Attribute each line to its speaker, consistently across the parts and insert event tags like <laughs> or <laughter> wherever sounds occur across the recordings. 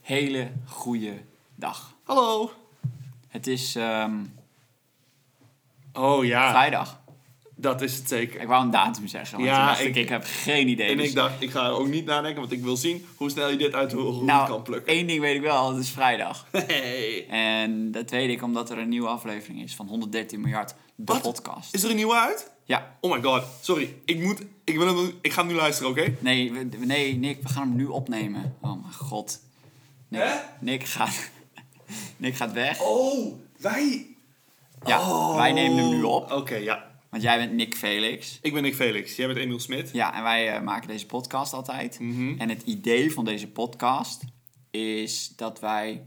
Speaker 1: hele goede dag.
Speaker 2: Hallo.
Speaker 1: Het is ehm,
Speaker 2: Ah. Oh ja,
Speaker 1: vrijdag.
Speaker 2: dat is het zeker.
Speaker 1: Ik wou een datum zeggen, want
Speaker 2: Ja,
Speaker 1: toen dacht ik,
Speaker 2: ik-
Speaker 1: ik heb geen idee.
Speaker 2: En
Speaker 1: Dus-
Speaker 2: ik dacht, ik ga er ook niet nadenken, want ik wil zien hoe snel je dit uit hoe, hoe
Speaker 1: nou,
Speaker 2: kan plukken.
Speaker 1: één ding weet ik wel, het is vrijdag.
Speaker 2: <laughs> Hey.
Speaker 1: En dat weet ik omdat er een nieuwe aflevering is van 113 miljard, de
Speaker 2: Wat?
Speaker 1: podcast.
Speaker 2: Is er een nieuwe uit?
Speaker 1: Ja,
Speaker 2: Oh my god, sorry. Ik moet, ik wil hem, ik ga hem nu luisteren, oké?
Speaker 1: nee, we- nee, Nick, we gaan hem nu opnemen. Oh mijn god. Nick,
Speaker 2: Hè?
Speaker 1: Nick, gaat, <laughs> Nick gaat weg.
Speaker 2: Oh, wij.
Speaker 1: Ja, wij nemen hem nu op,
Speaker 2: Oké, ja.
Speaker 1: want jij bent Nick Felix.
Speaker 2: Ik ben Nick Felix, jij bent Emiel Smit.
Speaker 1: Ja, en wij eh, maken deze podcast altijd. En het idee van deze podcast is dat wij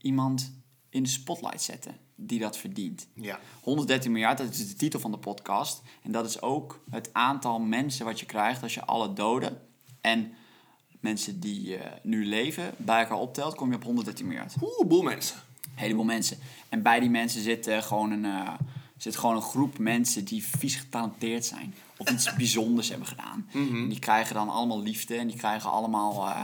Speaker 1: iemand in de spotlight zetten die dat verdient.
Speaker 2: Ja.
Speaker 1: 113 miljard, dat is de titel van de podcast. En dat is ook het aantal mensen wat je krijgt als je alle doden en mensen die eh, nu leven bij elkaar optelt, kom je op 113 miljard. Een
Speaker 2: Oeh, boel mensen.
Speaker 1: heleboel mensen. En bij die mensen zit, eh, gewoon, een, eh, zit gewoon een groep mensen die vies getalenteerd zijn. Of iets bijzonders hebben gedaan. En die krijgen dan allemaal liefde en die krijgen allemaal eh,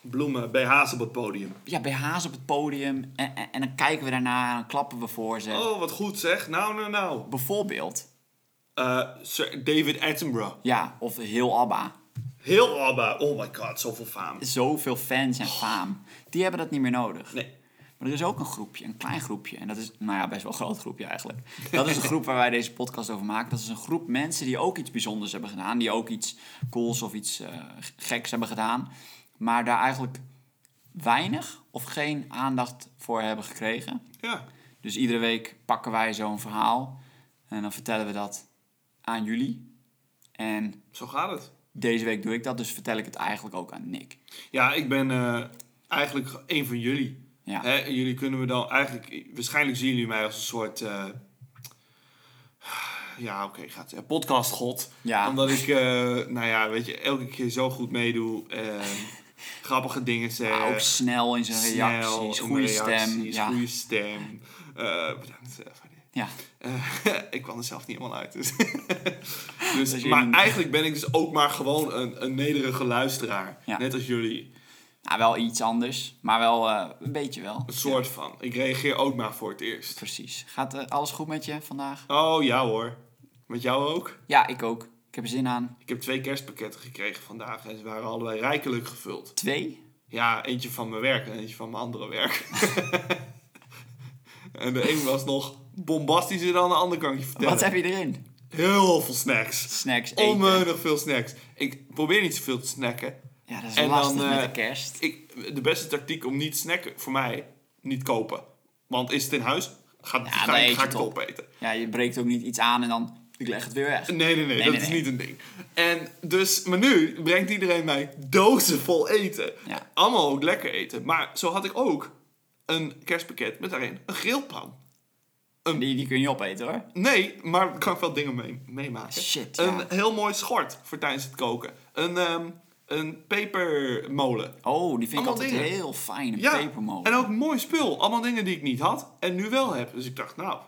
Speaker 2: Bloemen, BH's op het podium.
Speaker 1: ja, BH's op het podium. En, en, en dan kijken we daarna en dan klappen we voor ze.
Speaker 2: Oh, wat goed zeg. Nou, nou, nou.
Speaker 1: Bijvoorbeeld,
Speaker 2: Eh, Sir David Attenborough.
Speaker 1: ja, of heel ABBA.
Speaker 2: Heel Abba. Oh my god, zoveel faam.
Speaker 1: zoveel fans en faam. Die hebben dat niet meer nodig.
Speaker 2: Nee.
Speaker 1: Maar er is ook een groepje, een klein groepje. En dat is, nou ja, best wel een groot groepje eigenlijk. Dat is de groep waar wij deze podcast over maken. Dat is een groep mensen die ook iets bijzonders hebben gedaan. Die ook iets cools of iets eh, geks hebben gedaan. Maar daar eigenlijk weinig of geen aandacht voor hebben gekregen.
Speaker 2: Ja.
Speaker 1: Dus iedere week pakken wij zo'n verhaal. En dan vertellen we dat aan jullie. En
Speaker 2: Zo gaat het.
Speaker 1: deze week doe ik dat, dus vertel ik het eigenlijk ook aan Nick.
Speaker 2: Ja, ik ben eh, eigenlijk een van jullie.
Speaker 1: Ja.
Speaker 2: Hè, en jullie kunnen me dan eigenlijk... Waarschijnlijk zien jullie mij als een soort... eh, ja, oké, gaat eh, podcastgod.
Speaker 1: Ja.
Speaker 2: Omdat ik, eh, nou ja, weet je, elke keer zo goed meedoe. eh,
Speaker 1: <laughs>
Speaker 2: grappige dingen zeg.
Speaker 1: Ja, ook snel in zijn
Speaker 2: Eh, snel
Speaker 1: reacties,
Speaker 2: in
Speaker 1: goede
Speaker 2: de reacties,
Speaker 1: stem. Ja.
Speaker 2: Goede stem. Eh, bedankt eh, voor dit.
Speaker 1: ja,
Speaker 2: Eh, <laughs> ik kwam er zelf niet helemaal uit. Dus. <laughs> Dus,
Speaker 1: Dus
Speaker 2: maar
Speaker 1: jullie-
Speaker 2: eigenlijk ben ik dus ook maar gewoon een, een nederige luisteraar.
Speaker 1: Ja.
Speaker 2: Net als jullie.
Speaker 1: nou, wel iets anders, maar wel eh, een beetje wel.
Speaker 2: Een soort van. Ik reageer ook maar voor het eerst.
Speaker 1: Precies. Gaat eh, alles goed met je vandaag?
Speaker 2: Oh ja hoor. Met jou ook?
Speaker 1: Ja, ik ook. Ik heb er zin aan.
Speaker 2: Ik heb twee kerstpakketten gekregen vandaag en ze waren allebei rijkelijk gevuld.
Speaker 1: Twee?
Speaker 2: Ja, eentje van mijn werk en eentje van mijn andere werk. <laughs> en de een was nog bombastischer dan de ander, kan ik je vertellen.
Speaker 1: Wat heb je erin?
Speaker 2: Heel veel snacks.
Speaker 1: Snacks eten.
Speaker 2: Onmeunig veel snacks. Ik probeer niet zoveel te snacken.
Speaker 1: ja, dat is
Speaker 2: en
Speaker 1: lastig
Speaker 2: dan,
Speaker 1: met
Speaker 2: eh,
Speaker 1: de kerst.
Speaker 2: Ik, de beste tactiek om niet te snacken, voor mij, niet kopen. Want is het in huis, ga,
Speaker 1: dan
Speaker 2: ga,
Speaker 1: eet
Speaker 2: ik-
Speaker 1: je
Speaker 2: ga ik
Speaker 1: het
Speaker 2: het
Speaker 1: op.
Speaker 2: opeten.
Speaker 1: Ja, je breekt ook niet iets aan en dan ik leg het weer weg.
Speaker 2: Nee, nee, nee,
Speaker 1: Nee,
Speaker 2: dat
Speaker 1: nee,
Speaker 2: is
Speaker 1: nee.
Speaker 2: niet een ding. En dus, maar nu brengt iedereen mij dozen vol eten.
Speaker 1: Ja.
Speaker 2: Allemaal ook lekker eten. Maar zo had ik ook een kerstpakket met daarin een grillpan.
Speaker 1: Die, die kun je niet opeten hoor.
Speaker 2: Nee, maar daar kan ik wel dingen mee, meemaken.
Speaker 1: Shit,
Speaker 2: Een
Speaker 1: ja.
Speaker 2: heel mooi schort voor tijdens het koken. Een, ehm, een pepermolen.
Speaker 1: Oh, die vind ik
Speaker 2: Allemaal
Speaker 1: altijd
Speaker 2: dingen.
Speaker 1: heel fijn. Een
Speaker 2: Ja,
Speaker 1: pepermolen.
Speaker 2: en ook mooi spul. Allemaal dingen die ik niet had en nu wel heb. Dus ik dacht, nou,
Speaker 1: Dat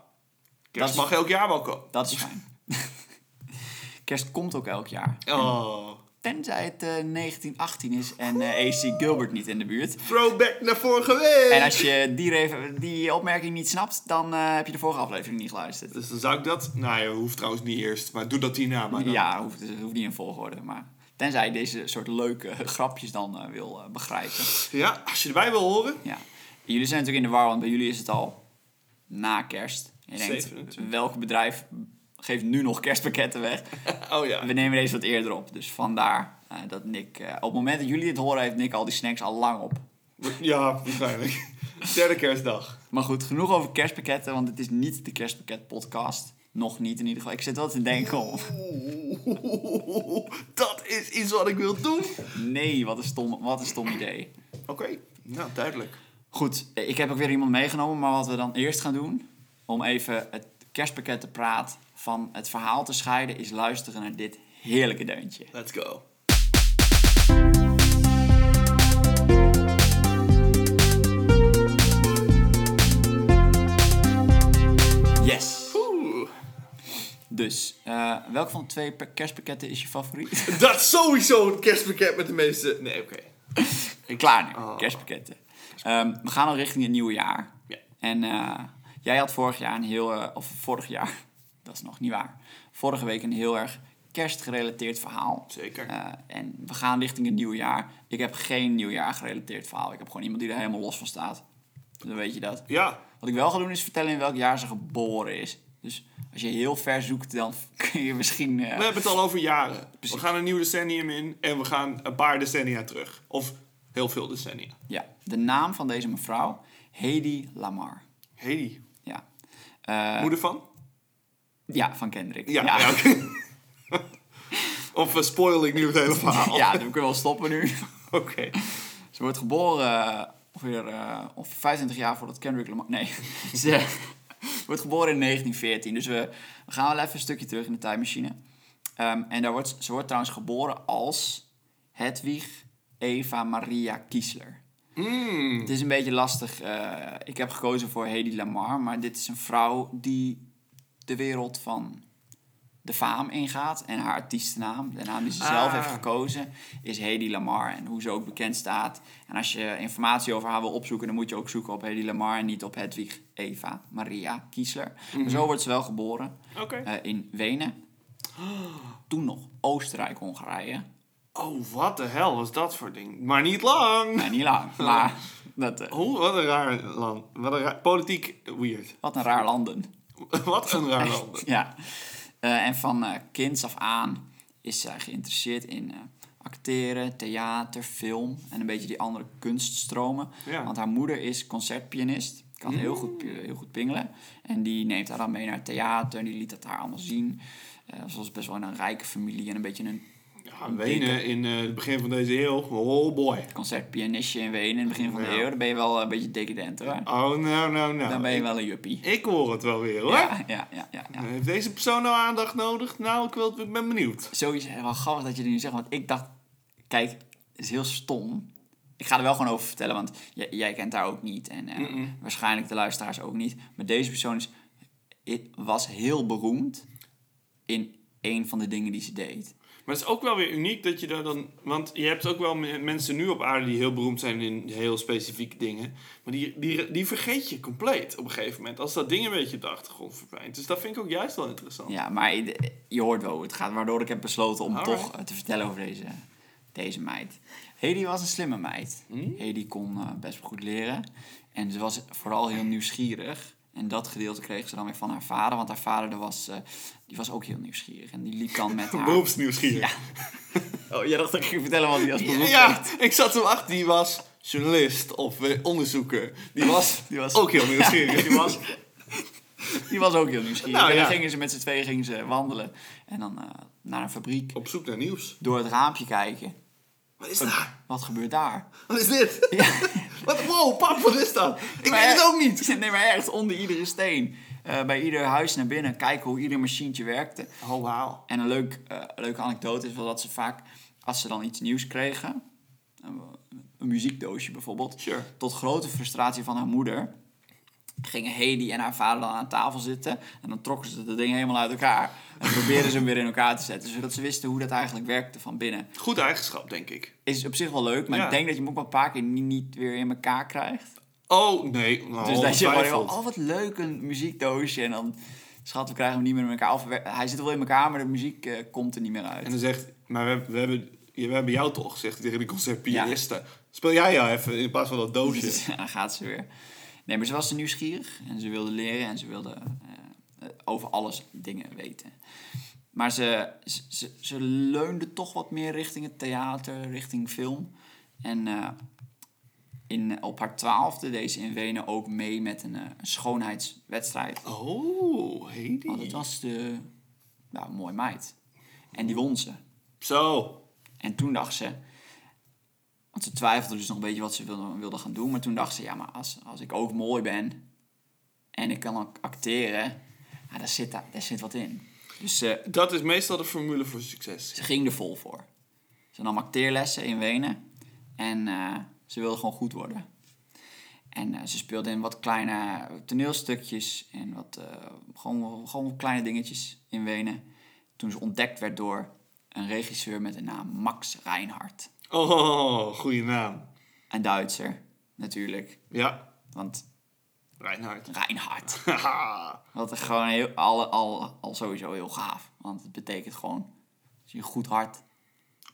Speaker 2: kerst
Speaker 1: is-
Speaker 2: mag elk jaar wel komen.
Speaker 1: Dat is fijn. <laughs> kerst komt ook elk jaar.
Speaker 2: Oh,
Speaker 1: Tenzij het eh, 1918 is en eh AC Gilbert niet in de buurt.
Speaker 2: throwback naar vorige week.
Speaker 1: En als je die, ref- die opmerking niet snapt, dan eh, heb je de vorige aflevering niet geluisterd.
Speaker 2: Dus dan zou ik dat... Nou, je hoeft trouwens niet eerst, maar doe dat hierna maar dan.
Speaker 1: Ja, hoeft, dus hoeft niet in volgorde, maar... Tenzij je deze soort leuke <laughs> grapjes dan eh, wil eh, begrijpen.
Speaker 2: Ja, als je erbij wil horen.
Speaker 1: Ja. Jullie zijn natuurlijk in de war, want bij jullie is het al na kerst. Je denkt,
Speaker 2: 27.
Speaker 1: welk bedrijf geeft nu nog kerstpakketten weg?
Speaker 2: <laughs> Oh ja.
Speaker 1: We nemen deze wat eerder op, dus vandaar eh, dat Nick... eh, op het moment dat jullie dit horen, heeft Nick al die snacks al lang op.
Speaker 2: Ja, waarschijnlijk. Derde kerstdag.
Speaker 1: Maar goed, genoeg over kerstpakketten, want het is niet de kerstpakket podcast. Nog niet in ieder geval. Ik zit wel te denken
Speaker 2: <laughs>
Speaker 1: om...
Speaker 2: Oeh, Dat is iets wat ik wil doen. Oké,
Speaker 1: Nee, wat een stom, wat een stom idee.
Speaker 2: nou duidelijk.
Speaker 1: Goed, ik heb ook weer iemand meegenomen, maar wat we dan eerst gaan doen, om even het kerstpakket te praat van het verhaal te scheiden, is luisteren naar dit heerlijke deuntje.
Speaker 2: Let's go.
Speaker 1: Yes!
Speaker 2: Oeh.
Speaker 1: Dus, eh, welk van de twee per- kerstpakketten is je favoriet?
Speaker 2: Dat is sowieso het kerstpakket met de meeste... Nee, oké.
Speaker 1: Klaar nu,
Speaker 2: Oh.
Speaker 1: kerstpakketten. Ehm, we gaan al richting het nieuwe jaar.
Speaker 2: Ja.
Speaker 1: En eh, jij had vorig jaar een heel... eh, of vorig jaar, <laughs> dat is nog niet waar. Vorige week een heel erg kerstgerelateerd verhaal.
Speaker 2: Zeker.
Speaker 1: Eh, en we gaan richting het nieuwe jaar. Ik heb geen nieuwjaar gerelateerd verhaal. Ik heb gewoon iemand die er helemaal los van staat. Dan weet je dat.
Speaker 2: Ja,
Speaker 1: Wat ik wel ga doen is vertellen in welk jaar ze geboren is. Dus als je heel ver zoekt, dan <laughs> kun je misschien... eh,
Speaker 2: we hebben het al over jaren. We gaan een nieuw decennium in en we gaan een paar decennia terug. Of heel veel decennia.
Speaker 1: Ja, de naam van deze mevrouw, Hedy Lamar.
Speaker 2: Hey,
Speaker 1: Ja, Eh,
Speaker 2: moeder van?
Speaker 1: ja van Kendrick.
Speaker 2: Ja,
Speaker 1: ja.
Speaker 2: ja, oké. <laughs> of eh, spoil ik nu het hele
Speaker 1: <laughs>
Speaker 2: verhaal?
Speaker 1: Ja, dan kunnen we wel stoppen nu.
Speaker 2: <laughs> Oké.
Speaker 1: Ze wordt geboren eh, ongeveer eh, ongeveer 25 jaar voordat Kendrick Lamar... Nee, <laughs> ze wordt geboren in 1914. Dus we, we gaan wel even een stukje terug in de tijdmachine. Ehm, en daar wordt, ze wordt trouwens geboren als Hedwig Eva Maria Kiesler. Het is een beetje lastig. eh, ik heb gekozen voor Hedy Lamar, maar dit is een vrouw die de wereld van de faam ingaat. En haar artiestennaam, de naam die ze zelf
Speaker 2: Ah.
Speaker 1: heeft gekozen, is Hedy Lamar. En hoe ze ook bekend staat. En als je informatie over haar wil opzoeken, dan moet je ook zoeken op Hedy Lamar en niet op Hedwig Eva Maria Kiesler. Maar zo wordt ze wel geboren
Speaker 2: Oké.
Speaker 1: eh, in Wenen. Toen nog Oostenrijk-Hongarije.
Speaker 2: Oh, wat de hel was dat voor ding? Maar niet lang!
Speaker 1: Nee, niet lang, maar dat, eh,
Speaker 2: Oh, wat een raar land. Wat een raar... Politiek weird. <laughs>
Speaker 1: wat een raar landen.
Speaker 2: wat een raar land.
Speaker 1: Ja. Eh, en van eh kinds af aan is zij geïnteresseerd in eh, acteren, theater, film en een beetje die andere kunststromen.
Speaker 2: Ja. Mm.
Speaker 1: Want haar moeder is concertpianist, kan heel, goed, pi- heel goed pingelen. En die neemt haar dan mee naar het theater en die liet dat haar allemaal zien. Eh ze was best wel in een rijke familie en een beetje een
Speaker 2: Ja, Wenen in eh, het begin van deze eeuw. Oh boy.
Speaker 1: concertpianistje in Wenen in het begin van de
Speaker 2: Ja.
Speaker 1: eeuw. Dan ben je wel een beetje decadent hoor.
Speaker 2: Oh, nou, nou, nou.
Speaker 1: Dan ben je wel een juppie.
Speaker 2: Ik hoor het wel weer, hoor.
Speaker 1: Ja, ja, ja, ja, ja.
Speaker 2: Heeft deze persoon nou aandacht nodig? Nou, ik, wil, ik ben benieuwd.
Speaker 1: Sowieso wel grappig dat je dit nu zegt, want ik dacht, kijk, het is heel stom. Ik ga er wel gewoon over vertellen, want j- jij kent haar ook niet en eh, waarschijnlijk de luisteraars ook niet. Maar deze persoon is, i- was heel beroemd in een van de dingen die ze deed.
Speaker 2: Maar het is ook wel weer uniek dat je daar dan... Want je hebt ook wel me- mensen nu op aarde die heel beroemd zijn in heel specifieke dingen. Maar die, die, die vergeet je compleet op een gegeven moment. Als dat ding een beetje op de achtergrond verdwijnt. Dus dat vind ik ook juist wel interessant.
Speaker 1: Ja, maar je- je hoort wel hoe het gaat, waardoor ik heb besloten om
Speaker 2: Alright.
Speaker 1: toch eh, te vertellen over deze, deze meid. Hedy was een slimme meid. Hedy kon eh, best goed leren. En ze was vooral heel nieuwsgierig. En dat gedeelte kreeg ze dan weer van haar vader, want haar vader er was, eh, die was ook heel nieuwsgierig. En die liep dan <laughs> met haar...
Speaker 2: Beroepsnieuwsgierig.
Speaker 1: Oh, jij dacht dat ik ging vertellen wat hij als beroep
Speaker 2: Ja, ik zat hem achter. Die was journalist of eh, onderzoeker. <laughs> Die was,
Speaker 1: Die was-
Speaker 2: ook heel nieuwsgierig.
Speaker 1: Die
Speaker 2: <laughs>
Speaker 1: was, die was ook heel nieuwsgierig.
Speaker 2: Nou,
Speaker 1: en dan
Speaker 2: ja.
Speaker 1: gingen ze met z'n tweeën gingen ze wandelen. En dan eh, naar een fabriek,
Speaker 2: op zoek naar nieuws.
Speaker 1: door het raampje kijken.
Speaker 2: Wat is daar?
Speaker 1: Wat gebeurt daar?
Speaker 2: Wat is dit?
Speaker 1: Ja.
Speaker 2: <laughs> Wat, wow, pap, wat is dat? Ik
Speaker 1: Maar
Speaker 2: weet het
Speaker 1: echt-
Speaker 2: ook niet.
Speaker 1: <laughs> Nee, maar echt onder iedere steen. Eh, bij ieder huis naar binnen kijken hoe ieder machientje werkte.
Speaker 2: Oh, wauw.
Speaker 1: En een leuk, eh, leuke anekdote is wel dat ze vaak, als ze dan iets nieuws kregen, een, een muziekdoosje bijvoorbeeld,
Speaker 2: Sure.
Speaker 1: tot grote frustratie van haar moeder, gingen Hedy en haar vader dan aan tafel zitten. En dan trokken ze dat ding helemaal uit elkaar. En probeerden ze hem weer in elkaar te zetten, zodat ze wisten hoe dat eigenlijk werkte van binnen.
Speaker 2: Goed eigenschap, denk ik.
Speaker 1: Is op zich wel leuk, maar
Speaker 2: Ja.
Speaker 1: ik denk dat je hem ook wel een paar keer niet, niet weer in elkaar krijgt.
Speaker 2: Oh, nee. Nou,
Speaker 1: Dus dat je gewoon
Speaker 2: ongetwijfeld.
Speaker 1: helemaal, oh wat leuk, een muziekdoosje. En dan, schat, we krijgen hem niet meer in elkaar. Of we- hij zit wel in elkaar, maar de muziek eh, komt er niet meer uit.
Speaker 2: <laughs> En dan zegt... Maar we, hebben- we, hebben, we hebben jou toch gezegd tegen die concertpianisten. Speel jij jou even in plaats van dat doosje.
Speaker 1: <laughs> Dus dan gaat ze weer. Nee, maar ze was nieuwsgierig. En ze wilde leren en ze wilde eh, eh, over alles dingen weten. Maar ze, ze- ze, ze leunde toch wat meer richting het theater, richting film. En eh, in, op haar twaalfde deed ze in Wenen ook mee met een, eh, een schoonheidswedstrijd.
Speaker 2: Oh, Hedy.
Speaker 1: Want het was de... Nou, mooi meid. En die won ze.
Speaker 2: Zo.
Speaker 1: En toen dacht ze... Want ze twijfelde dus nog een beetje wat ze wilde, wilde gaan doen. Maar toen dacht ze, ja, maar als, als ik ook mooi ben... en ik kan ook acteren... Ja, daar, zit, daar, daar zit wat in. Dus ze,
Speaker 2: Dat is meestal de formule voor succes.
Speaker 1: ze ging er vol voor. Ze nam acteerlessen in Wenen. En eh, ze wilde gewoon goed worden. En eh, ze speelde in wat kleine toneelstukjes. En wat, eh, gewoon, gewoon wat kleine dingetjes in Wenen. Toen ze ontdekt werd door een regisseur met de naam Max Reinhardt.
Speaker 2: Oh, goede naam.
Speaker 1: En Duitser, natuurlijk.
Speaker 2: Ja,
Speaker 1: Want <laughs>
Speaker 2: Reinhard.
Speaker 1: Reinhard.
Speaker 2: Haha.
Speaker 1: Dat is gewoon heel, al, al, al sowieso heel gaaf. Want het betekent gewoon, als je een goed hart...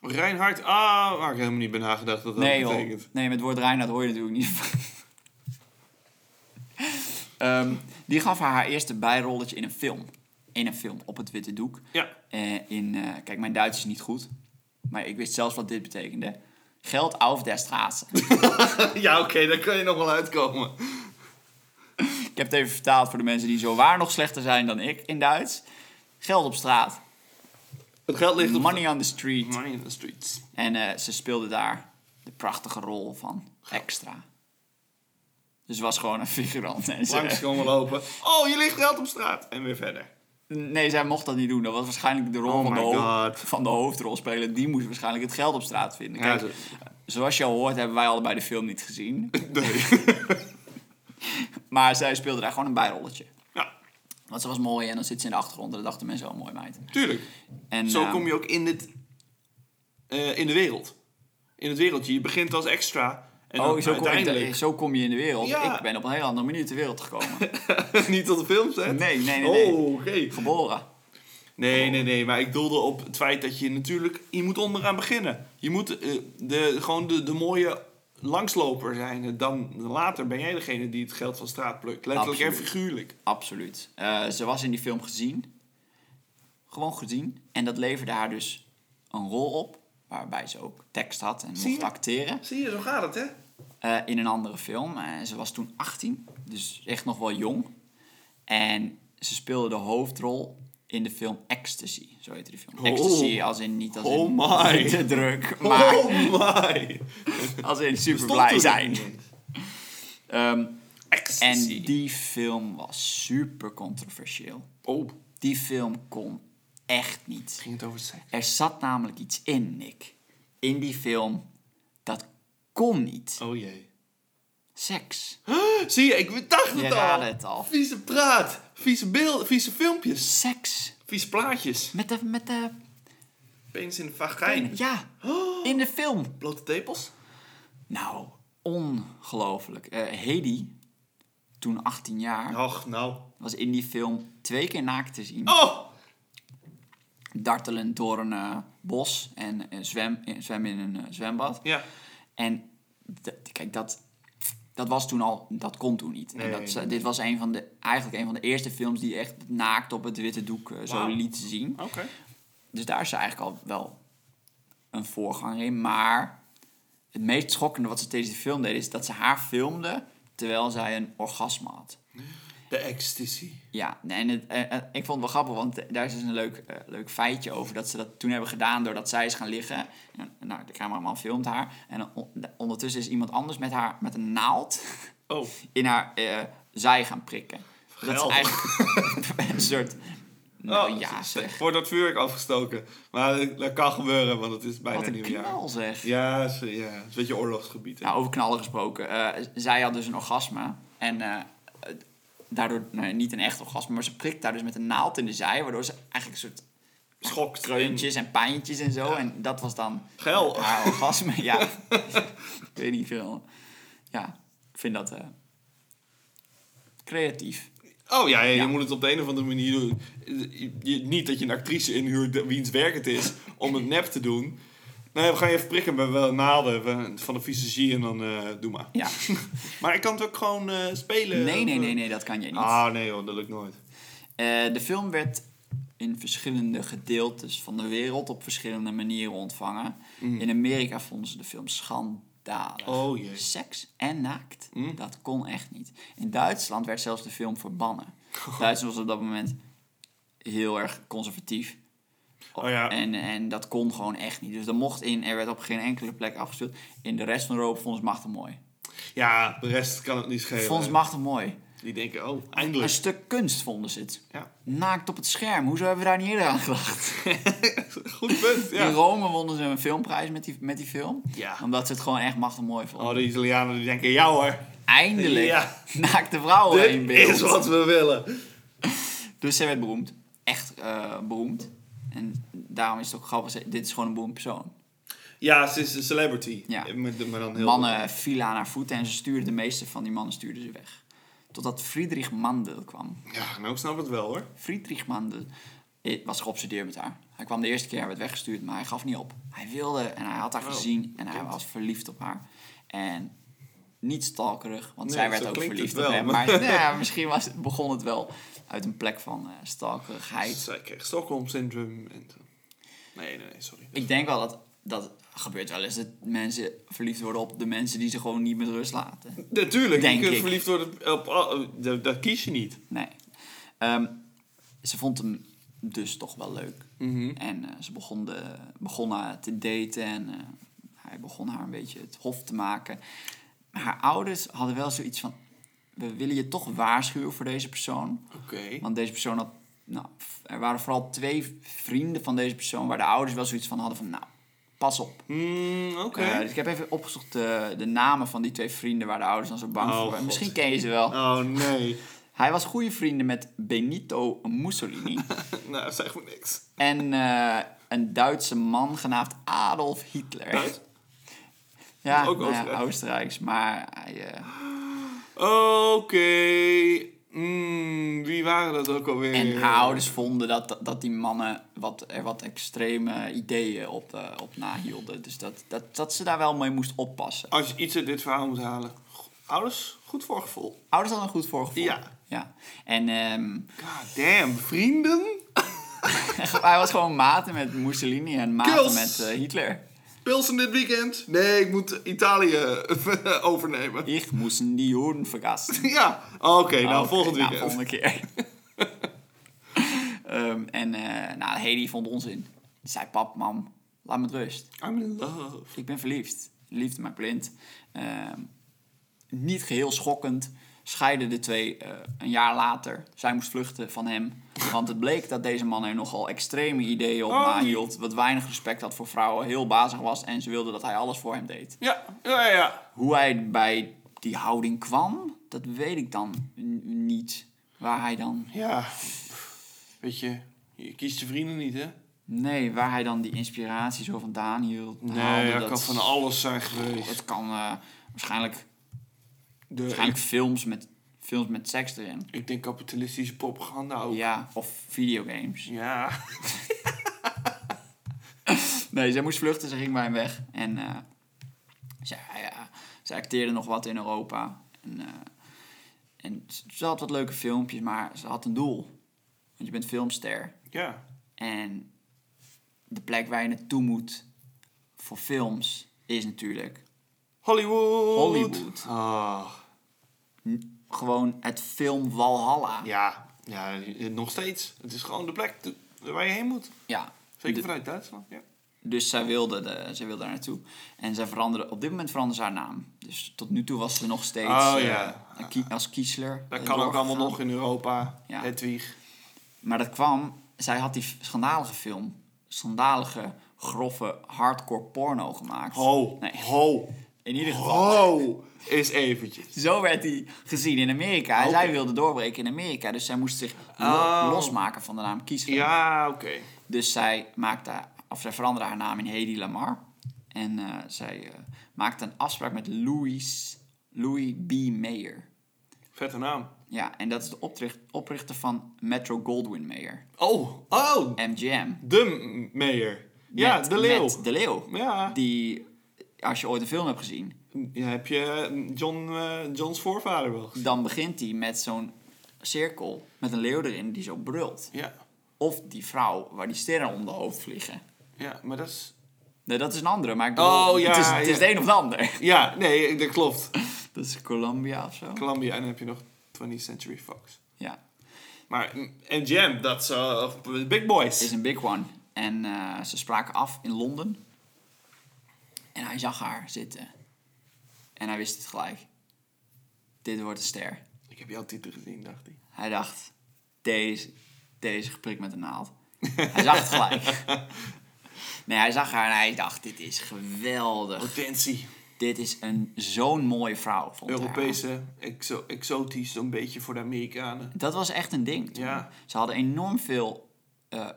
Speaker 2: Reinhard, ah, waar ik helemaal niet bij nagedacht dat dat
Speaker 1: Nee joh, nee,
Speaker 2: betekent. <laughs>
Speaker 1: met het woord Reinhard hoor je natuurlijk niet. Ehm, die gaf haar haar eerste bijrolletje in een film. In een film, op het witte doek.
Speaker 2: Ja,
Speaker 1: Eh, in, eh, kijk, mijn Duits is niet goed. Maar ik wist zelfs wat dit betekende. Geld auf der Straße.
Speaker 2: <laughs> ja oké, daar kan je nog wel uitkomen.
Speaker 1: ik heb het even vertaald voor de mensen die zo waar nog slechter zijn dan ik in Duits. Geld op straat.
Speaker 2: Het geld ligt op...
Speaker 1: Money on the street.
Speaker 2: Money in the streets.
Speaker 1: En eh, ze speelde daar de prachtige rol van extra. Dus ze was gewoon een figurant. En ze-
Speaker 2: Langs komen lopen. Oh, je ligt geld op straat. En weer verder.
Speaker 1: <laughs> nee, zij mocht dat niet doen. Dat was waarschijnlijk de rol
Speaker 2: Oh
Speaker 1: van, de
Speaker 2: my
Speaker 1: ho-
Speaker 2: God.
Speaker 1: van de hoofdrolspeler. Die moest waarschijnlijk het geld op straat vinden. Kijk,
Speaker 2: Ja,
Speaker 1: zoals je al hoort hebben wij allebei de film niet gezien.
Speaker 2: Nee.
Speaker 1: Maar zij speelde daar gewoon een bijrolletje.
Speaker 2: ja,
Speaker 1: Want ze was mooi en dan zit ze in de achtergrond. En dat dachten mensen wel mooi meid.
Speaker 2: tuurlijk.
Speaker 1: En, ehm,
Speaker 2: Zo kom je ook in dit... eh, in de wereld. In het wereldje. Je begint als extra. En
Speaker 1: Oh,
Speaker 2: dan
Speaker 1: zo kom,
Speaker 2: uiteindelijk...
Speaker 1: ik, zo kom je in de wereld.
Speaker 2: Ja.
Speaker 1: Ik ben op een heel andere manier ter wereld gekomen.
Speaker 2: <laughs> niet tot de films, hè?
Speaker 1: Nee, nee, nee, nee.
Speaker 2: Oh, oké.
Speaker 1: Geboren.
Speaker 2: Nee, nee, nee. Maar ik doelde op het feit dat je natuurlijk... Je moet onderaan beginnen. Je moet eh, de, gewoon de, de mooie langsloper zijn. Dan later ben jij degene die het geld van straat plukt. Letterlijk en
Speaker 1: Absoluut.
Speaker 2: figuurlijk.
Speaker 1: Absoluut. Eh, ze was in die film gezien. Gewoon gezien. En dat leverde haar dus een rol op. Waarbij ze ook tekst had en
Speaker 2: Zie
Speaker 1: mocht
Speaker 2: je?
Speaker 1: acteren.
Speaker 2: Zie je, zo gaat het, hè?
Speaker 1: eh, in een andere film. En ze was toen 18. Dus echt nog wel jong. En ze speelde de hoofdrol in de film Ecstasy. Zo heette die film.
Speaker 2: Oh.
Speaker 1: Ecstasy als in niet als in
Speaker 2: Oh my.
Speaker 1: <laughs> te druk. Maar
Speaker 2: Oh my!
Speaker 1: als in super
Speaker 2: Stond
Speaker 1: blij
Speaker 2: toen
Speaker 1: zijn.
Speaker 2: niet eens.
Speaker 1: Ehm, en
Speaker 2: Ecstasy.
Speaker 1: die film was super controversieel.
Speaker 2: Oh,
Speaker 1: Die film kon echt niet.
Speaker 2: ging het over seks?
Speaker 1: Er zat namelijk iets in, Nick. In die film. Dat kon niet.
Speaker 2: Oh jee.
Speaker 1: Seks.
Speaker 2: <gasps> Zie je, ik dacht het
Speaker 1: Je
Speaker 2: al.
Speaker 1: raadde het al.
Speaker 2: Vieze praat, vieze beelden, vieze filmpjes,
Speaker 1: Seks.
Speaker 2: vieze plaatjes.
Speaker 1: Met de... Met de
Speaker 2: Penis in de vagijn.
Speaker 1: ja.
Speaker 2: Oh.
Speaker 1: In de film.
Speaker 2: Blote tepels.
Speaker 1: Nou, ongelooflijk. Eh Hedy, toen 18 jaar,
Speaker 2: Och, nou.
Speaker 1: was in die film twee keer naakt te zien.
Speaker 2: Oh!
Speaker 1: Dartelend door een eh, bos en eh, zwem, eh, zwem in een eh, zwembad.
Speaker 2: Ja.
Speaker 1: En d- kijk, dat, dat was toen al, dat kon toen niet.
Speaker 2: Nee,
Speaker 1: en dat,
Speaker 2: nee,
Speaker 1: ze-
Speaker 2: nee.
Speaker 1: Dit was een van de, eigenlijk een van de eerste films die echt naakt op het witte doek eh, zo
Speaker 2: Wauw. Oh.
Speaker 1: liet zien.
Speaker 2: Oké.
Speaker 1: Dus daar is ze eigenlijk al wel een voorganger in. Maar het meest schokkende wat ze tijdens die film deed, is dat ze haar filmde terwijl zij een orgasme had.
Speaker 2: De ecstasy.
Speaker 1: Ja, nee, en het, eh, eh, ik vond het wel grappig, want eh, daar is dus een leuk, eh, leuk feitje over. Dat ze dat toen hebben gedaan doordat zij is gaan liggen. En, nou, de cameraman filmt haar. En on- ondertussen is iemand anders met, haar, met een naald <laughs>
Speaker 2: Oh.
Speaker 1: in haar eh, zij gaan prikken. Dat
Speaker 2: Geweldig.
Speaker 1: is eigenlijk <laughs> een soort... Nou
Speaker 2: Oh,
Speaker 1: ja, zeg.
Speaker 2: <laughs> Wordt dat vuurwerk afgestoken. Maar dat, dat kan gebeuren, want het is bijna
Speaker 1: Wat een
Speaker 2: nieuwjaar.
Speaker 1: knal, zeg.
Speaker 2: Ja, ze- ja, het is een beetje oorlogsgebied. hè.
Speaker 1: Nou, over knallen gesproken. eh, zij had dus een orgasme. En eh, eh, daardoor, nee, niet een echt orgasme, maar ze prikt daar dus met een naald in de zij. Waardoor ze eigenlijk een soort
Speaker 2: Schok.
Speaker 1: kreuntjes en pijntjes en zo. En dat was dan
Speaker 2: Geil.
Speaker 1: haar orgasme. ja, ik weet niet veel. Ja, ik vind dat eh, creatief.
Speaker 2: Oh ja, ja, je moet het op de een of andere manier doen. Je- je- niet dat je een actrice inhuurt de- wiens werk het is om het nep te doen. Nee, we gaan je even prikken met wel naalden van- van de fysiologie en dan eh, doe maar.
Speaker 1: Ja.
Speaker 2: <laughs> maar ik kan het ook gewoon eh, spelen.
Speaker 1: Nee, nee, nee, nee, dat kan je niet.
Speaker 2: Ah nee hoor, dat lukt nooit.
Speaker 1: Eh, de film werd in verschillende gedeeltes van de wereld op verschillende manieren ontvangen. In Amerika vonden ze de film schandalig.
Speaker 2: Mm. Oh, jee. Mm.
Speaker 1: Seks en naakt, dat kon echt niet. In Duitsland werd zelfs de film
Speaker 2: <laughs>
Speaker 1: verbannen. Duitsland was op dat moment heel erg conservatief.
Speaker 2: Oh ja.
Speaker 1: En, en dat kon gewoon echt niet. Dus dat mocht in, er werd op geen enkele plek afgespeeld. In de rest van Europa vonden ze Machtig mooi.
Speaker 2: Ja, de rest kan het niet schelen.
Speaker 1: Vonden ze Machtig mooi.
Speaker 2: Die denken, oh,
Speaker 1: Een
Speaker 2: eindelijk.
Speaker 1: stuk kunst vonden ze het.
Speaker 2: Ja. <laughs>
Speaker 1: Naakt op het scherm, hoezo hebben we daar niet eerder aan gedacht?
Speaker 2: Goed punt,
Speaker 1: In
Speaker 2: ja.
Speaker 1: Rome wonnen ze een filmprijs met die, met die film.
Speaker 2: Ja.
Speaker 1: Omdat ze het gewoon echt machtig mooi vonden.
Speaker 2: Oh, de Italianen die denken, ja hoor,
Speaker 1: Eindelijk <laughs>
Speaker 2: Ja.
Speaker 1: naakte vrouwen in
Speaker 2: dit
Speaker 1: Oh, beeld.
Speaker 2: is wat we willen.
Speaker 1: Dus zij werd beroemd. Echt eh, beroemd. En daarom is het ook grappig. ze- Dit is gewoon een beroemd persoon.
Speaker 2: Ja, ze is een celebrity.
Speaker 1: Ja.
Speaker 2: Eh, Maar, maar dan heel
Speaker 1: Mannen vielen aan haar voeten en ze stuurden de meeste van die mannen stuurden ze weg. Totdat Friedrich Mandel kwam.
Speaker 2: Ja, nou ik snap het wel hoor.
Speaker 1: Friedrich Mandel eh, was geobsedeerd met haar. Hij kwam de eerste keer, hij werd weggestuurd, maar hij gaf niet op. Hij wilde en hij had haar
Speaker 2: Oh,
Speaker 1: gezien en hij
Speaker 2: kind.
Speaker 1: was verliefd op haar. En niet stalkerig, want
Speaker 2: Nee,
Speaker 1: zij
Speaker 2: zo
Speaker 1: werd ook
Speaker 2: klinkt
Speaker 1: verliefd
Speaker 2: het wel,
Speaker 1: op hem.
Speaker 2: maar-
Speaker 1: Maar <laughs> nou ja, misschien was, begon het wel uit een plek van eh, stalkerigheid.
Speaker 2: Zij kreeg Stockholm syndrome. En... zo. Nee, nee, nee, sorry.
Speaker 1: Ik denk wel dat dat gebeurt wel eens dat mensen verliefd worden op de mensen die ze gewoon niet met rust laten.
Speaker 2: Natuurlijk,
Speaker 1: Denk
Speaker 2: je kunt
Speaker 1: ik.
Speaker 2: verliefd worden op... al- dat, dat kies je niet.
Speaker 1: Nee. Ehm, ze vond hem dus toch wel leuk.
Speaker 2: Mhm.
Speaker 1: En eh, ze begon, de, begon haar te daten en eh, hij begon haar een beetje het hof te maken. Maar haar ouders hadden wel zoiets van: we willen je toch waarschuwen voor deze persoon.
Speaker 2: Oké.
Speaker 1: Want deze persoon had. Nou, f- er waren vooral twee vrienden van deze persoon waar de ouders wel zoiets van hadden: van nou, pas op.
Speaker 2: Hmm, Oké.
Speaker 1: Eh, dus ik heb even opgezocht eh, de, de namen van die twee vrienden waar de ouders dan zo bang
Speaker 2: Oh,
Speaker 1: voor waren.
Speaker 2: God.
Speaker 1: Misschien ken je ze wel.
Speaker 2: Oh nee.
Speaker 1: Hij was goede vrienden met Benito Mussolini
Speaker 2: <laughs> <laughs> nou, zeg maar niks.
Speaker 1: en eh, een Duitse man genaamd Adolf Hitler.
Speaker 2: Uit?
Speaker 1: Ja,
Speaker 2: Ook
Speaker 1: nou ja,
Speaker 2: Oostenrijk.
Speaker 1: Oostenrijks, maar hij, eh,
Speaker 2: Oké. Hmm, wie waren dat ook alweer?
Speaker 1: en haar ouders vonden dat, dat die mannen wat, er wat extreme ideeën op, eh, op nahielden. Dus dat, dat, dat ze daar wel mee moest oppassen.
Speaker 2: Als je iets uit dit verhaal moet halen. go- Ouders, goed voorgevoel.
Speaker 1: Ouders hadden een goed voorgevoel.
Speaker 2: Ja.
Speaker 1: ja. En ehm, <laughs>
Speaker 2: God damn, vrienden?
Speaker 1: hij was gewoon maten met Mussolini en maten
Speaker 2: Kills.
Speaker 1: met eh, Hitler.
Speaker 2: Pilsen dit weekend? Nee, ik moet Italië <laughs> overnemen.
Speaker 1: Ik moest die Joden vergassen.
Speaker 2: Ja, oké, nou
Speaker 1: Oké,
Speaker 2: volgend
Speaker 1: nou,
Speaker 2: weekend.
Speaker 1: volgende keer. <laughs> Ehm, en eh nou, Hedy vond onzin. Ze zei, pap, mam, laat me met rust.
Speaker 2: I'm in love.
Speaker 1: Ik ben verliefd. Liefde maakt blind. Ehm, niet geheel schokkend scheiden de twee eh, een jaar later. Zij moest vluchten van hem. Want het bleek dat deze man er nogal extreme ideeën op
Speaker 2: Oh.
Speaker 1: nahield. Wat weinig respect had voor vrouwen. Heel bazig was. En ze wilde dat hij alles voor hem deed.
Speaker 2: Ja, ja, ja.
Speaker 1: Hoe hij bij die houding kwam, dat weet ik dan n- niet. Waar hij dan
Speaker 2: Ja. Weet je, je kiest je vrienden niet, hè?
Speaker 1: Nee, waar hij dan die inspiratie zo vandaan hield.
Speaker 2: Nee,
Speaker 1: haalde,
Speaker 2: Nou, dat kan van alles zijn geweest.
Speaker 1: Het kan eh, waarschijnlijk,
Speaker 2: De, ik,
Speaker 1: waarschijnlijk films, met, films met seks erin.
Speaker 2: ik denk kapitalistische nou, propaganda ook. Ja.
Speaker 1: Ja, of videogames. Nee, zij moest vluchten, ze ging bij hem weg. En eh, zij, ja, zij acteerde nog wat in Europa. En, eh, en ze- ze had wat leuke filmpjes, maar ze had een doel. Want je bent filmster.
Speaker 2: Ja.
Speaker 1: En de plek waar je naartoe moet voor films is natuurlijk
Speaker 2: Hollywood.
Speaker 1: Hollywood.
Speaker 2: Ah.
Speaker 1: gewoon het film Walhalla.
Speaker 2: Ja. ja, nog steeds. Het is gewoon de plek te- waar je heen moet.
Speaker 1: Ja.
Speaker 2: Zeker
Speaker 1: De-
Speaker 2: vanuit Duitsland, ja.
Speaker 1: dus zij wilde, de, zij wilde daar naartoe. En zij veranderde, op dit moment veranderde ze haar naam. Dus tot nu toe was ze nog steeds
Speaker 2: Oh,
Speaker 1: eh,
Speaker 2: ja.
Speaker 1: een kie- als kiesler.
Speaker 2: Dat
Speaker 1: eh,
Speaker 2: kan ook allemaal
Speaker 1: doorgegaan.
Speaker 2: nog in Europa.
Speaker 1: Ja.
Speaker 2: Hedwig.
Speaker 1: Maar dat kwam, zij had die schandalige film, schandalige, grove, hardcore porno gemaakt.
Speaker 2: Ho,
Speaker 1: Nee.
Speaker 2: ho,
Speaker 1: In ieder geval.
Speaker 2: ho. Is eventjes.
Speaker 1: Zo werd hij gezien in Amerika. En
Speaker 2: Oké.
Speaker 1: zij wilde doorbreken in Amerika. Dus zij moest zich lo-
Speaker 2: Oh.
Speaker 1: losmaken van de naam kiesler.
Speaker 2: Ja, oké.
Speaker 1: Dus zij, maakte, of zij veranderde haar naam in Hedy Lamar. En eh, zij eh, maakte een afspraak met Louis, Louis B. Mayer.
Speaker 2: Vette naam.
Speaker 1: Ja, en dat is de opricht- oprichter van Metro Goldwyn Mayer.
Speaker 2: Oh, oh.
Speaker 1: MGM.
Speaker 2: De meer. Ja,
Speaker 1: Met-
Speaker 2: de leeuw.
Speaker 1: met de leeuw.
Speaker 2: Ja.
Speaker 1: Die, als je ooit een film hebt gezien,
Speaker 2: ja. Heb je John, eh, John's voorvader wel gezien?
Speaker 1: dan begint hij met zo'n cirkel met een leeuw erin die zo brult.
Speaker 2: Ja.
Speaker 1: Of die vrouw waar die sterren om de hoofd vliegen.
Speaker 2: Ja, maar dat is...
Speaker 1: Nee, dat is een andere, maar ik bedoel,
Speaker 2: Oh, ja,
Speaker 1: het, is, het is
Speaker 2: ja.
Speaker 1: de een of de ander. <laughs>
Speaker 2: Ja, nee, dat klopt.
Speaker 1: Dat is Colombia of zo.
Speaker 2: Columbia en dan heb je nog 20th Century Fox.
Speaker 1: Ja,
Speaker 2: Maar mm, MGM, dat is eh, big boys.
Speaker 1: is een big one. En eh, ze spraken af in Londen. En hij zag haar zitten. En hij wist het gelijk. Dit wordt een ster.
Speaker 2: Ik heb jouw titel gezien, dacht ik.
Speaker 1: Hij dacht, deze, deze geprikt met een naald. Hij zag het gelijk. Nee, hij zag haar en hij dacht, dit is geweldig.
Speaker 2: Potentie.
Speaker 1: Dit is een, zo'n mooie vrouw. Vond hij haar.
Speaker 2: Europese, exo exotisch, zo'n beetje voor de Amerikanen.
Speaker 1: Dat was echt een ding. toen.
Speaker 2: Ja.
Speaker 1: Ze hadden enorm veel eh,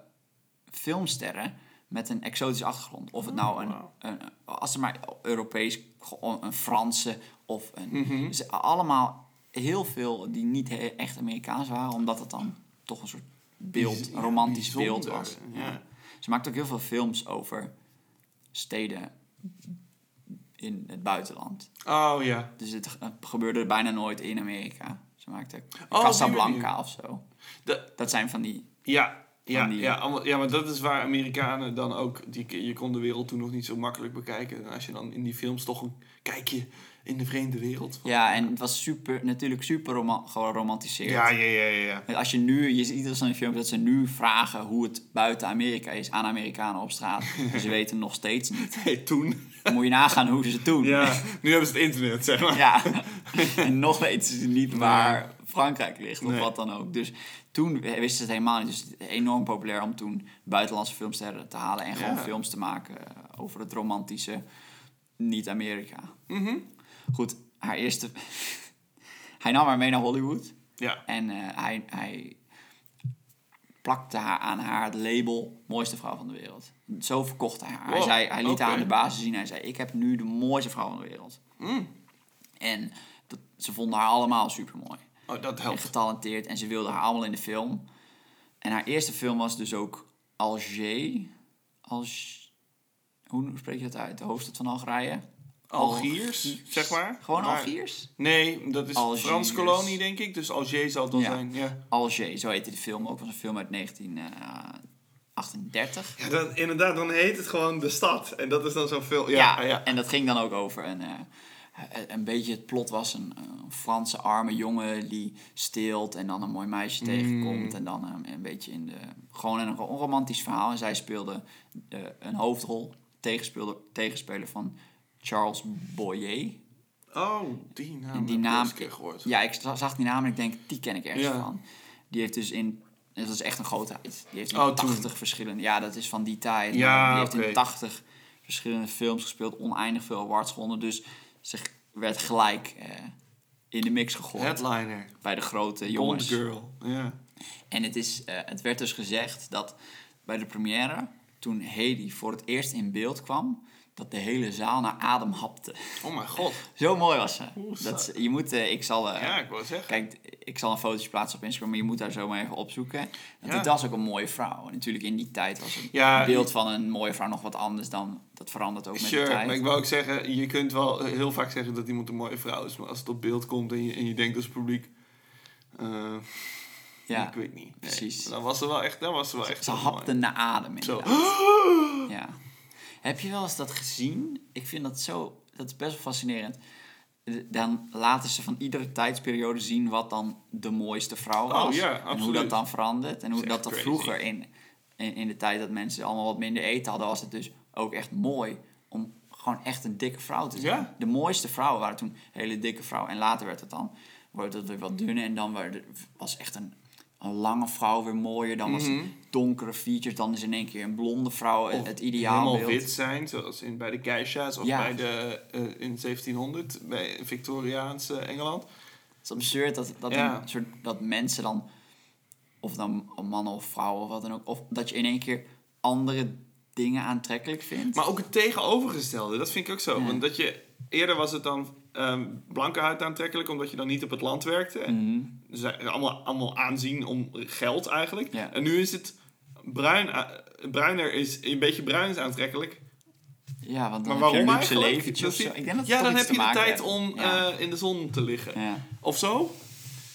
Speaker 1: filmsterren met een exotische achtergrond. Of
Speaker 2: Oh,
Speaker 1: het nou een, een, als er maar Europees, gewoon een Franse of een...
Speaker 2: Mhm.
Speaker 1: dus allemaal heel veel die niet he- echt Amerikaans waren, omdat het dan toch een soort beeld,
Speaker 2: Ja,
Speaker 1: een romantisch beeld
Speaker 2: bijzonder,
Speaker 1: was.
Speaker 2: Ja.
Speaker 1: Ze maakt ook heel veel films over steden in het buitenland.
Speaker 2: Oh ja.
Speaker 1: Dus het ge- gebeurde bijna nooit in Amerika. Ze maakte
Speaker 2: die
Speaker 1: Casablanca
Speaker 2: manier.
Speaker 1: of zo.
Speaker 2: Dat,
Speaker 1: Dat zijn van die...
Speaker 2: ja. Ja,
Speaker 1: Van die-
Speaker 2: ja, allemaal- ja, maar dat is waar Amerikanen dan ook... Die, je kon de wereld toen nog niet zo makkelijk bekijken. En als je dan in die films toch een kijkje in de vreemde wereld...
Speaker 1: Ja, en het was super, natuurlijk super roma- geromantiseerd.
Speaker 2: Ja, ja, ja, ja.
Speaker 1: <laughs>
Speaker 2: ja.
Speaker 1: Als je nu, je ziet iedere zo'n film dat ze nu vragen hoe het buiten Amerika is aan Amerikanen op straat.
Speaker 2: <laughs>
Speaker 1: En ze weten nog steeds niet.
Speaker 2: Nee, toen.
Speaker 1: Dan moet je nagaan hoe ze het doen. <laughs>
Speaker 2: Ja, nu hebben ze het internet, zeg maar.
Speaker 1: Ja. <laughs> En nog weten ze niet waar Frankrijk ligt of
Speaker 2: Nee.
Speaker 1: wat dan ook. Dus toen wisten ze het helemaal niet. Dus het is enorm populair om toen buitenlandse films te te halen en gewoon
Speaker 2: Ja.
Speaker 1: films te maken eh, over het romantische niet-Amerika.
Speaker 2: Mhm.
Speaker 1: Goed, haar eerste. <laughs> Hij nam haar mee naar Hollywood.
Speaker 2: Ja.
Speaker 1: En eh, hij, hij plakte haar aan haar het label mooiste vrouw van de wereld. Zo verkocht hij haar. hij,
Speaker 2: Wow,
Speaker 1: zei, hij liet haar aan
Speaker 2: oké.
Speaker 1: de basis zien. Hij zei, ik heb nu de mooiste vrouw van de wereld.
Speaker 2: Mm.
Speaker 1: En dat, ze vonden haar allemaal supermooi.
Speaker 2: Oh, dat
Speaker 1: En
Speaker 2: helpt.
Speaker 1: getalenteerd. En ze wilden haar allemaal in de film. En haar eerste film was dus ook Alger. Alge- Hoe spreek je dat uit? De hoofdstad van Algerije?
Speaker 2: Algiers, zeg maar.
Speaker 1: Gewoon
Speaker 2: Maar-
Speaker 1: Algiers?
Speaker 2: Nee, dat is
Speaker 1: Algiers.
Speaker 2: Frans kolonie, denk ik. Dus Alger zal het dan
Speaker 1: Ja.
Speaker 2: zijn. Ja.
Speaker 1: Alger, zo heette de film. Ook was een film uit eh, 1938.
Speaker 2: Ja, dan, inderdaad, dan heet het gewoon de stad. En dat is dan zo'n film.
Speaker 1: Ja, en dat ging dan ook over een, eh, een beetje het plot was een, eh, Franse arme jongen die steelt en dan een mooi meisje tegenkomt en dan eh, een beetje in de gewoon een ro- romantisch verhaal en zij speelde eh, een hoofdrol tegenspeelde tegenspeler van Charles Boyer.
Speaker 2: Oh, die naam.
Speaker 1: Die naam,
Speaker 2: Heb ik wel eens een keer gehoord.
Speaker 1: ja, ik za- zag die naam en ik denk die ken ik ergens
Speaker 2: Ja.
Speaker 1: van. Die heeft dus in dat is echt een grootheid. Die heeft in
Speaker 2: Oh, toen.
Speaker 1: 80 verschillende. Ja, dat is van die tijd.
Speaker 2: Ja,
Speaker 1: die heeft in
Speaker 2: oké.
Speaker 1: 80 verschillende films gespeeld, oneindig veel awards gewonnen. Dus ze g- werd gelijk eh, in de mix gegooid
Speaker 2: Headliner.
Speaker 1: bij de grote
Speaker 2: Bond
Speaker 1: jongens.
Speaker 2: Girl. Ja.
Speaker 1: En het, is, eh, het werd dus gezegd dat bij de première, toen Hedy voor het eerst in beeld kwam, dat de hele zaal naar adem hapte. <laughs>
Speaker 2: Oh mijn god.
Speaker 1: Zo mooi was ze.
Speaker 2: Oeh,
Speaker 1: Dat ze- je moet, eh, ik zal, eh,
Speaker 2: Ja, ik wil zeggen.
Speaker 1: Kijk, ik zal een fotootje plaatsen op Instagram, maar je moet daar zomaar even opzoeken. Want
Speaker 2: Ja.
Speaker 1: het was ook een mooie vrouw. En natuurlijk in die tijd was het
Speaker 2: Ja,
Speaker 1: beeld van een mooie vrouw nog wat anders dan... Dat verandert ook met
Speaker 2: Sure,
Speaker 1: de tijd.
Speaker 2: maar ik wou ook zeggen, je kunt wel heel vaak zeggen dat iemand een mooie vrouw is, maar als het op beeld komt en je, en je denkt als publiek, eh,
Speaker 1: ja,
Speaker 2: ik weet niet. Nee,
Speaker 1: precies.
Speaker 2: Dan was ze wel echt, dan was ze wel echt
Speaker 1: ze
Speaker 2: heel
Speaker 1: hapte
Speaker 2: mooi.
Speaker 1: naar adem
Speaker 2: Zo.
Speaker 1: inderdaad.
Speaker 2: <gasps>
Speaker 1: Ja. Heb je wel eens dat gezien? Ik vind dat zo... Dat is best wel fascinerend. Dan laten ze van iedere tijdsperiode zien wat dan de mooiste vrouw was.
Speaker 2: Oh, ja,
Speaker 1: en hoe
Speaker 2: absoluut.
Speaker 1: dat dan verandert. En hoe
Speaker 2: is
Speaker 1: dat
Speaker 2: echt
Speaker 1: dan
Speaker 2: crazy.
Speaker 1: vroeger in, in, in de tijd dat mensen allemaal wat minder eten hadden... was het dus ook echt mooi om gewoon echt een dikke vrouw te zijn.
Speaker 2: Ja.
Speaker 1: De mooiste vrouwen waren toen hele dikke vrouwen. En later werd het dan wordt het weer wat dunner. En dan werd- was echt een, een lange vrouw weer mooier. Dan was het
Speaker 2: Mhm.
Speaker 1: donkere features. Dan is in één keer een blonde vrouw het-
Speaker 2: Of
Speaker 1: het
Speaker 2: Helemaal
Speaker 1: ideaalbeeld.
Speaker 2: wit zijn, zoals in, bij de geisha's of
Speaker 1: Ja.
Speaker 2: bij de, eh, in 1700, bij Victoriaans eh, Engeland.
Speaker 1: Het is absurd dat, dat,
Speaker 2: Ja.
Speaker 1: een soort, dat mensen dan, of dan mannen of vrouwen of wat dan ook, of dat je in één keer andere dingen aantrekkelijk vindt.
Speaker 2: Maar ook het tegenovergestelde, dat vind ik ook zo.
Speaker 1: Ja.
Speaker 2: Want dat je, eerder was het dan ehm, blanke huid aantrekkelijk, omdat je dan niet op het land werkte.
Speaker 1: Mhm.
Speaker 2: Ze zijn allemaal, allemaal aanzien om geld eigenlijk.
Speaker 1: Ja.
Speaker 2: En nu is het bruin, a- bruiner is een beetje bruin is aantrekkelijk.
Speaker 1: ja, want dan
Speaker 2: Maar
Speaker 1: heb je
Speaker 2: waarom
Speaker 1: een luxe
Speaker 2: eigenlijk?
Speaker 1: leventje
Speaker 2: Dat
Speaker 1: of zo.
Speaker 2: vind-
Speaker 1: Ik denk dat het
Speaker 2: ja,
Speaker 1: toch
Speaker 2: dan
Speaker 1: iets
Speaker 2: heb
Speaker 1: te
Speaker 2: je de
Speaker 1: maken
Speaker 2: tijd
Speaker 1: heeft.
Speaker 2: om
Speaker 1: Ja.
Speaker 2: eh, in de zon te liggen.
Speaker 1: Ja.
Speaker 2: Of zo.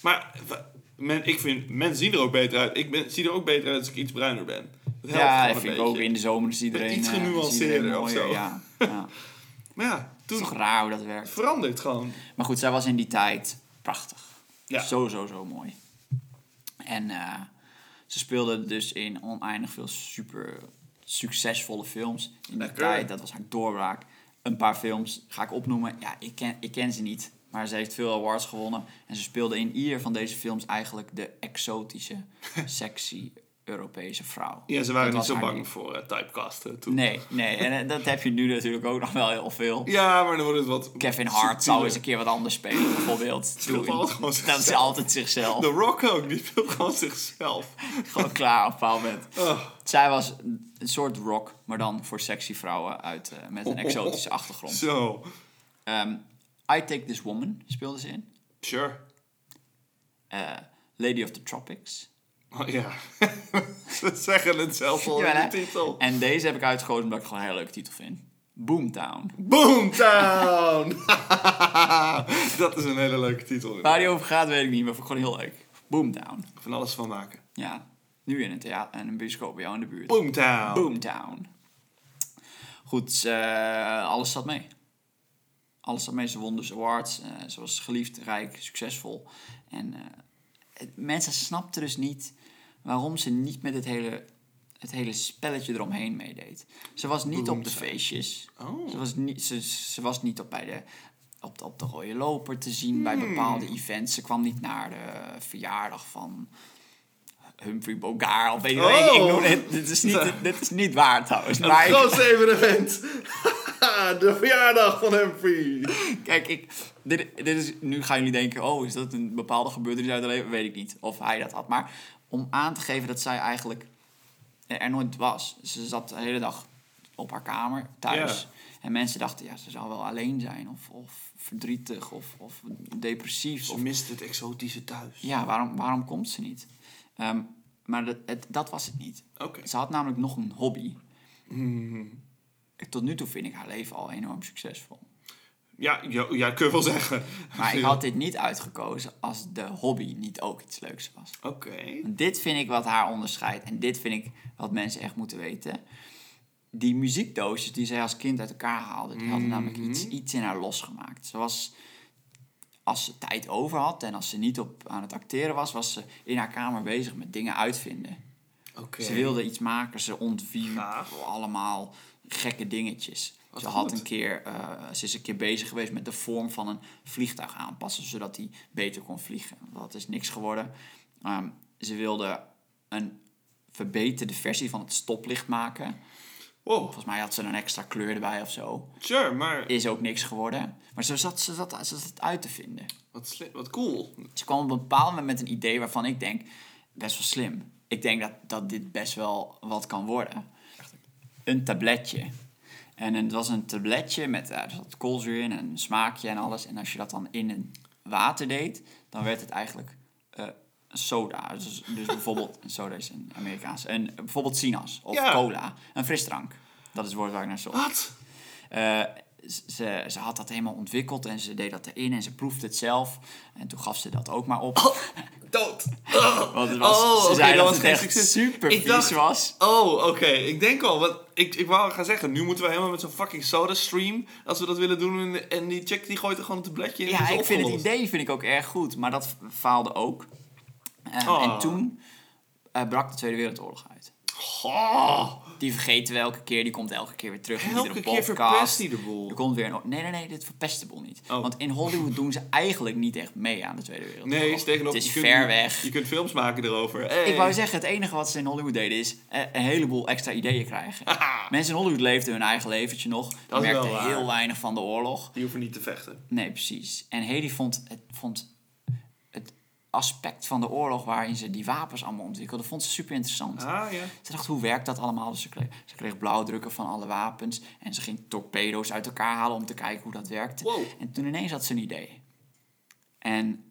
Speaker 2: Maar wa- men, ik vind, mensen zien er ook beter uit. Ik ben, zie er ook beter uit als ik iets bruiner ben. Dat helpt
Speaker 1: Ja,
Speaker 2: gewoon
Speaker 1: dat
Speaker 2: een
Speaker 1: vind ik ook.
Speaker 2: beetje.
Speaker 1: In de zomer is iedereen...
Speaker 2: Iets
Speaker 1: eh, is iedereen
Speaker 2: genuanceerder of
Speaker 1: mooier,
Speaker 2: zo.
Speaker 1: Ja. ja.
Speaker 2: Maar ja,
Speaker 1: Het
Speaker 2: toen
Speaker 1: is toch raar hoe dat werkt.
Speaker 2: verandert gewoon.
Speaker 1: Maar goed, zij was in die tijd prachtig.
Speaker 2: Ja.
Speaker 1: Zo, zo, zo mooi. En eh, ze speelde dus in oneindig veel super succesvolle films. In die
Speaker 2: Lekker.
Speaker 1: tijd, dat was haar doorbraak. Een paar films ga ik opnoemen. Ja, ik ken, ik ken ze niet. Maar ze heeft veel awards
Speaker 2: <laughs>
Speaker 1: gewonnen. En ze speelde in ieder van deze films eigenlijk de exotische, sexy Europese vrouw.
Speaker 2: Ja, ze waren
Speaker 1: Dat
Speaker 2: niet
Speaker 1: was
Speaker 2: zo
Speaker 1: haar
Speaker 2: bang voor eh, typecasten toen.
Speaker 1: Nee, nee. En eh, dat heb je nu natuurlijk ook nog wel heel veel.
Speaker 2: Ja, maar dan wordt het wat...
Speaker 1: Kevin Hart zou eens een keer wat anders spelen,
Speaker 2: <laughs>
Speaker 1: bijvoorbeeld.
Speaker 2: speelt
Speaker 1: Doe-
Speaker 2: altijd gewoon
Speaker 1: dat is
Speaker 2: zichzelf.
Speaker 1: altijd zichzelf.
Speaker 2: The Rock ook, die speelt gewoon zichzelf.
Speaker 1: Gewoon klaar op een bepaald moment.
Speaker 2: Oh.
Speaker 1: Zij was een soort rock, maar dan voor sexy vrouwen uit, eh, met een
Speaker 2: Oh.
Speaker 1: exotische achtergrond.
Speaker 2: Zo.
Speaker 1: Ehm, I Take This Woman speelde ze in.
Speaker 2: Sure.
Speaker 1: Eh, Lady of the Tropics.
Speaker 2: Oh, ja. <laughs> Ze zeggen het zelf al
Speaker 1: Jawel,
Speaker 2: in de
Speaker 1: hè?
Speaker 2: Oh, titel.
Speaker 1: En deze heb ik uitgekozen omdat ik het gewoon een hele leuke titel vind. Boomtown.
Speaker 2: Boomtown! <laughs> dat is een hele leuke titel.
Speaker 1: Waar die over gaat weet ik niet, maar vond ik gewoon heel leuk. Boomtown.
Speaker 2: Van alles van maken.
Speaker 1: Ja, nu in een theater en een bioscoop bij jou in de buurt.
Speaker 2: Boomtown!
Speaker 1: Boomtown. Goed, eh, alles zat mee. Alles zat mee. Ze won dus awards. eh, ze was geliefd, rijk, succesvol. En eh, het- mensen snapten dus niet waarom ze niet met het hele, het hele spelletje eromheen meedeed. Ze was niet op de feestjes.
Speaker 2: Oh.
Speaker 1: Ze, was niet, ze, ze was niet op bij de... Op de, op de rode loper te zien bij
Speaker 2: Hmm.
Speaker 1: bepaalde events. Ze kwam niet naar de verjaardag van Humphrey Bogart. Of weet je, ik, ik
Speaker 2: Oh.
Speaker 1: noem het. Dit is niet, dit is niet waar trouwens. Maar ik-
Speaker 2: Grootste evenement! <laughs> de verjaardag van Humphrey!
Speaker 1: kijk, ik, dit, dit is, nu gaan jullie denken... Oh, is dat een bepaalde gebeurtenis uit haar leven? Weet ik niet. Of hij dat had. Maar om aan te geven dat zij eigenlijk er nooit was. Ze zat de hele dag op haar kamer thuis.
Speaker 2: Ja.
Speaker 1: En mensen dachten, ja, ze zou wel alleen zijn. Of, of verdrietig. Of, of depressief.
Speaker 2: Ze
Speaker 1: Of,
Speaker 2: mist het exotische thuis.
Speaker 1: ja, waarom, waarom komt ze niet? Ehm, maar dat, het, dat was het niet.
Speaker 2: Oké.
Speaker 1: Ze had namelijk nog een hobby. Tot nu toe vind ik haar leven al enorm succesvol.
Speaker 2: Ja, ja, ja, kun je wel zeggen.
Speaker 1: Maar
Speaker 2: <laughs>
Speaker 1: ik had dit niet uitgekozen als de hobby niet ook iets leuks was.
Speaker 2: Oké.
Speaker 1: Dit vind ik wat haar onderscheidt. En dit vind ik wat mensen echt moeten weten. Die muziekdoosjes die zij als kind uit elkaar haalde, die hadden namelijk iets, iets in haar losgemaakt. Ze was, als ze tijd over had en als ze niet op, aan het acteren was, was ze in haar kamer bezig met dingen uitvinden.
Speaker 2: Oké.
Speaker 1: Ze wilde iets maken, ze ontwierp
Speaker 2: Gaaf.
Speaker 1: allemaal gekke dingetjes. ze
Speaker 2: goed.
Speaker 1: had een keer, eh, ze is een keer bezig geweest met de vorm van een vliegtuig aanpassen, zodat hij beter kon vliegen. Dat is niks geworden. Ehm, ze wilde een verbeterde versie van het stoplicht maken.
Speaker 2: Wow,
Speaker 1: Volgens mij had ze er een extra kleur erbij of zo.
Speaker 2: sure, maar
Speaker 1: Is ook niks geworden. Maar ze zat, ze zat, ze zat het uit te vinden.
Speaker 2: wat, slim, wat cool.
Speaker 1: Ze kwam op een bepaald moment met een idee waarvan ik denk, best wel slim. Ik denk dat, dat dit best wel wat kan worden. Een tabletje. En het was een tabletje met eh, er zat koolzuur in en een smaakje en alles. En als je dat dan in een water deed, dan werd het eigenlijk eh, soda. Dus, dus bijvoorbeeld, soda is een Amerikaans. En bijvoorbeeld sinaas of
Speaker 2: Ja.
Speaker 1: cola. Een frisdrank. Dat is het woord waar ik naar zocht.
Speaker 2: Wat?
Speaker 1: Eh, ze, ze had dat helemaal ontwikkeld en ze deed dat erin en ze proefde het zelf. En toen gaf ze dat ook maar op.
Speaker 2: Dood.
Speaker 1: Want het was,
Speaker 2: Oh,
Speaker 1: ze
Speaker 2: oké,
Speaker 1: zei
Speaker 2: dat
Speaker 1: dat,
Speaker 2: was
Speaker 1: het
Speaker 2: geen
Speaker 1: echt
Speaker 2: succes.
Speaker 1: super
Speaker 2: Ik
Speaker 1: vies
Speaker 2: dacht-
Speaker 1: was.
Speaker 2: Oh, oké. Ik denk al, wat, ik, ik wou gaan zeggen, nu moeten we helemaal met zo'n fucking soda stream, als we dat willen doen, en, en die chick die gooit er gewoon een tabletje in.
Speaker 1: Ja,
Speaker 2: is
Speaker 1: ik vind het
Speaker 2: opgelost.
Speaker 1: idee vind ik ook erg goed, maar dat faalde ook. Eh,
Speaker 2: Oh.
Speaker 1: En toen eh, brak de Tweede Wereldoorlog uit.
Speaker 2: Goh.
Speaker 1: Die vergeten we elke keer, die komt elke keer weer terug. in
Speaker 2: Elke
Speaker 1: iedere
Speaker 2: keer
Speaker 1: podcast.
Speaker 2: verpest hij de boel.
Speaker 1: Er komt weer een... Nee, nee, nee, dit verpest de boel niet.
Speaker 2: Oh.
Speaker 1: Want in Hollywood doen ze eigenlijk niet echt mee aan de Tweede Wereldoorlog.
Speaker 2: Nee, steek nog.
Speaker 1: Oh, Het is
Speaker 2: je kunt-
Speaker 1: ver weg.
Speaker 2: Je kunt films maken erover. Hey.
Speaker 1: Ik wou zeggen, het enige wat ze in Hollywood deden is eh, een heleboel extra ideeën
Speaker 2: <laughs>
Speaker 1: krijgen. Mensen in Hollywood leefden hun eigen leventje nog.
Speaker 2: Dat is wel
Speaker 1: merkten
Speaker 2: waar.
Speaker 1: heel weinig van de oorlog.
Speaker 2: Die hoeven niet te vechten.
Speaker 1: Nee, precies. En Hedy vond het, vond het aspect van de oorlog waarin ze die wapens allemaal ontwikkelden, vond ze super interessant.
Speaker 2: Ah, ja.
Speaker 1: Ze dacht, hoe werkt dat allemaal? Dus ze kreeg, ze kreeg blauwdrukken van alle wapens en ze ging torpedo's uit elkaar halen om te kijken hoe dat werkte.
Speaker 2: Wow.
Speaker 1: En toen ineens had ze een idee. En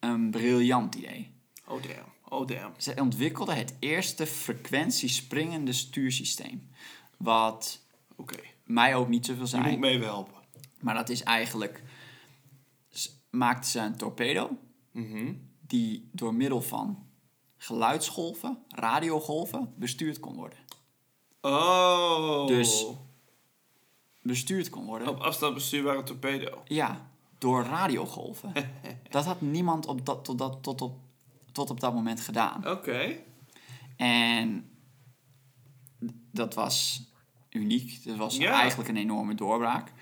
Speaker 1: een briljant idee.
Speaker 2: Oh, damn. Oh, damn.
Speaker 1: Ze ontwikkelde het eerste frequentiespringende stuursysteem. Wat
Speaker 2: Oké.
Speaker 1: mij ook niet zoveel
Speaker 2: Je moet
Speaker 1: zei.
Speaker 2: me even helpen.
Speaker 1: Maar dat is eigenlijk... s- Maakte ze een torpedo... Mhm. die door middel van geluidsgolven, radiogolven... bestuurd kon worden.
Speaker 2: Oh.
Speaker 1: Dus- Bestuurd kon worden.
Speaker 2: Op afstand bestuurbare torpedo.
Speaker 1: Ja, door radiogolven. <laughs> dat had niemand op dat, tot, dat, tot, op, tot op dat moment gedaan.
Speaker 2: Oké.
Speaker 1: En dat was uniek. Dat was
Speaker 2: Ja.
Speaker 1: eigenlijk een enorme doorbraak.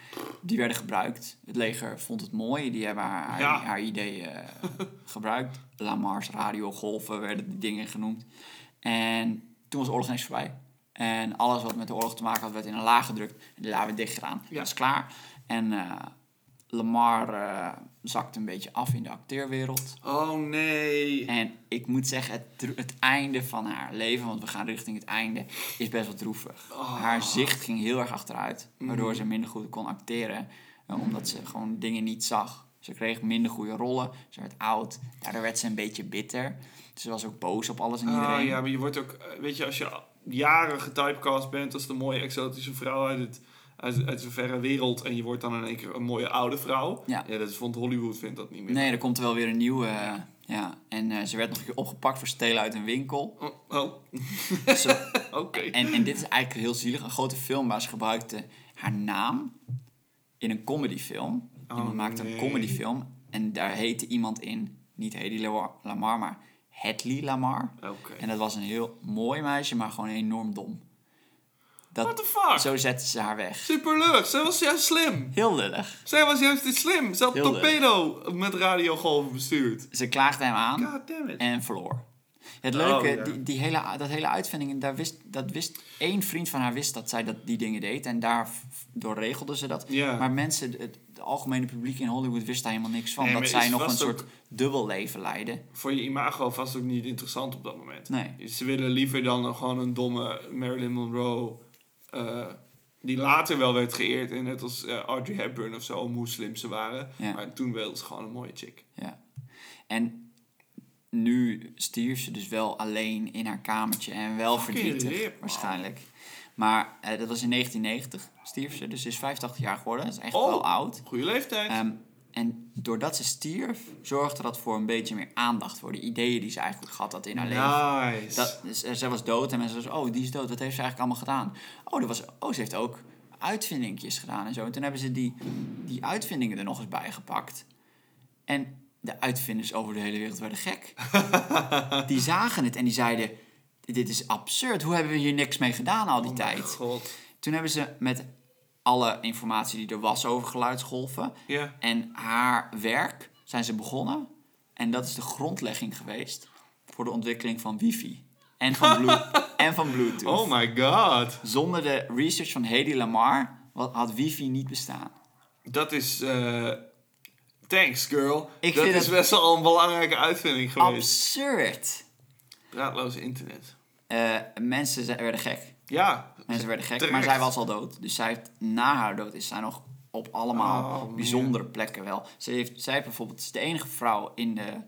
Speaker 1: Die werden gebruikt. Het leger vond het mooi. Die hebben haar, haar, eh,
Speaker 2: Ja. <laughs>
Speaker 1: haar ideeën gebruikt. Lamar's radiogolven werden die dingen genoemd. En toen was de oorlog ineens voorbij. En alles wat met de oorlog te maken had, werd in een laag gedrukt. En die laag werd dicht gedaan.
Speaker 2: Ja.
Speaker 1: Dat is klaar. En eh, Lamar eh, zakte een beetje af in de acteerwereld.
Speaker 2: Oh nee.
Speaker 1: En ik moet zeggen, het, dro- het einde van haar leven, want we gaan richting het einde, is best wel droevig.
Speaker 2: Oh. Mm.
Speaker 1: Haar zicht ging heel erg achteruit, waardoor ze minder goed kon acteren, eh, omdat ze gewoon dingen niet zag. Ze kreeg minder goede rollen, ze werd oud, daardoor werd ze een beetje bitter. Ze was ook boos op alles en iedereen.
Speaker 2: Ah, ja, maar je wordt ook, eh, weet je, als je al jaren getypecast bent als de mooie exotische vrouw uit, het, uit, uit zo'n verre wereld en je wordt dan in één keer een mooie oude vrouw.
Speaker 1: Ja.
Speaker 2: dat is, vond Hollywood vindt dat niet meer.
Speaker 1: Nee, er komt er wel weer een nieuwe. eh, ja. En eh, ze werd nog een keer opgepakt voor stelen uit een
Speaker 2: <laughs>
Speaker 1: winkel.
Speaker 2: Oh, oh,
Speaker 1: Ze-
Speaker 2: oké.
Speaker 1: en, en dit is eigenlijk heel zielig. Een grote film waar ze gebruikte haar naam in een comedyfilm. Iemand
Speaker 2: Oh,
Speaker 1: maakte
Speaker 2: nee.
Speaker 1: een comedyfilm en daar heette iemand in, niet Hedy Lamar- Lamar, maar Hedley Lamar.
Speaker 2: Oké.
Speaker 1: En dat was een heel mooi meisje, maar gewoon enorm dom.
Speaker 2: What the
Speaker 1: Dat,
Speaker 2: fuck?
Speaker 1: zo zetten ze haar weg.
Speaker 2: Superleuk, zij was juist slim.
Speaker 1: Heel lullig.
Speaker 2: Zij was juist iets slim. Ze had
Speaker 1: Heel
Speaker 2: torpedo met radiogolven bestuurd.
Speaker 1: Ze klaagde hem aan.
Speaker 2: God damn it.
Speaker 1: en verloor. Het
Speaker 2: Oh,
Speaker 1: leuke,
Speaker 2: ja.
Speaker 1: die, die hele, dat hele uitvinding, daar wist, dat wist één vriend van haar wist dat zij dat, die dingen deed. En daardoor regelden ze dat.
Speaker 2: Ja.
Speaker 1: Maar mensen, het, het algemene publiek in Hollywood wist daar helemaal niks van.
Speaker 2: Nee,
Speaker 1: dat
Speaker 2: maar
Speaker 1: zij
Speaker 2: is
Speaker 1: nog een
Speaker 2: vast ook-
Speaker 1: soort dubbel leven leidde.
Speaker 2: Voor je imago vast ook niet interessant op dat moment. Dus
Speaker 1: Nee.
Speaker 2: Ze willen liever dan een- gewoon een domme Marilyn Monroe. eh, die later wel werd geëerd. En net als eh, Audrey Hepburn of zo, om hoe slim ze waren.
Speaker 1: Ja.
Speaker 2: Maar toen wel ze gewoon een mooie chick.
Speaker 1: Ja. En nu stierf ze dus wel alleen in haar kamertje. En wel
Speaker 2: Fucking
Speaker 1: verdrietig,
Speaker 2: rip, man.
Speaker 1: waarschijnlijk. Maar eh, dat was in 1990 stierf ze. Dus ze is 85 jaar geworden. Dat is echt
Speaker 2: Oh.
Speaker 1: wel oud.
Speaker 2: Goede leeftijd.
Speaker 1: Ehm, en doordat ze stierf, zorgde dat voor een beetje meer aandacht voor de ideeën die ze eigenlijk had had in haar leven.
Speaker 2: nice.
Speaker 1: Dat, dus, eh, zij was dood en mensen zeiden, oh, die is dood. Wat heeft ze eigenlijk allemaal gedaan? Oh, er was, oh ze heeft ook uitvindingjes gedaan en zo. En toen hebben ze die, die uitvindingen er nog eens bij gepakt. En de uitvinders over de hele wereld werden
Speaker 2: <laughs>
Speaker 1: gek. die zagen het en die zeiden, dit is absurd. Hoe hebben we hier niks mee gedaan al die
Speaker 2: Oh mijn
Speaker 1: tijd?
Speaker 2: God.
Speaker 1: Toen hebben ze met alle informatie die er was over geluidsgolven
Speaker 2: Ja.
Speaker 1: en haar werk zijn ze begonnen. En dat is de grondlegging geweest voor de ontwikkeling van wifi en
Speaker 2: <laughs>
Speaker 1: van, Blue- en van Bluetooth.
Speaker 2: Oh my god.
Speaker 1: Zonder de research van Hedy Lamar wa- had wifi niet bestaan.
Speaker 2: Dat is. eh, thanks, girl.
Speaker 1: Ik
Speaker 2: dat
Speaker 1: vind
Speaker 2: is
Speaker 1: het-
Speaker 2: best wel een belangrijke uitvinding geweest.
Speaker 1: Absurd!
Speaker 2: Draadloos internet.
Speaker 1: Eh, mensen ze- werden gek.
Speaker 2: Ja.
Speaker 1: Mensen werden gek,
Speaker 2: Terecht.
Speaker 1: maar zij was al dood. Dus zij heeft, na haar dood is zij nog op allemaal
Speaker 2: Oh, man.
Speaker 1: bijzondere plekken wel. Ze heeft, zij heeft bijvoorbeeld, ze is de enige vrouw in de,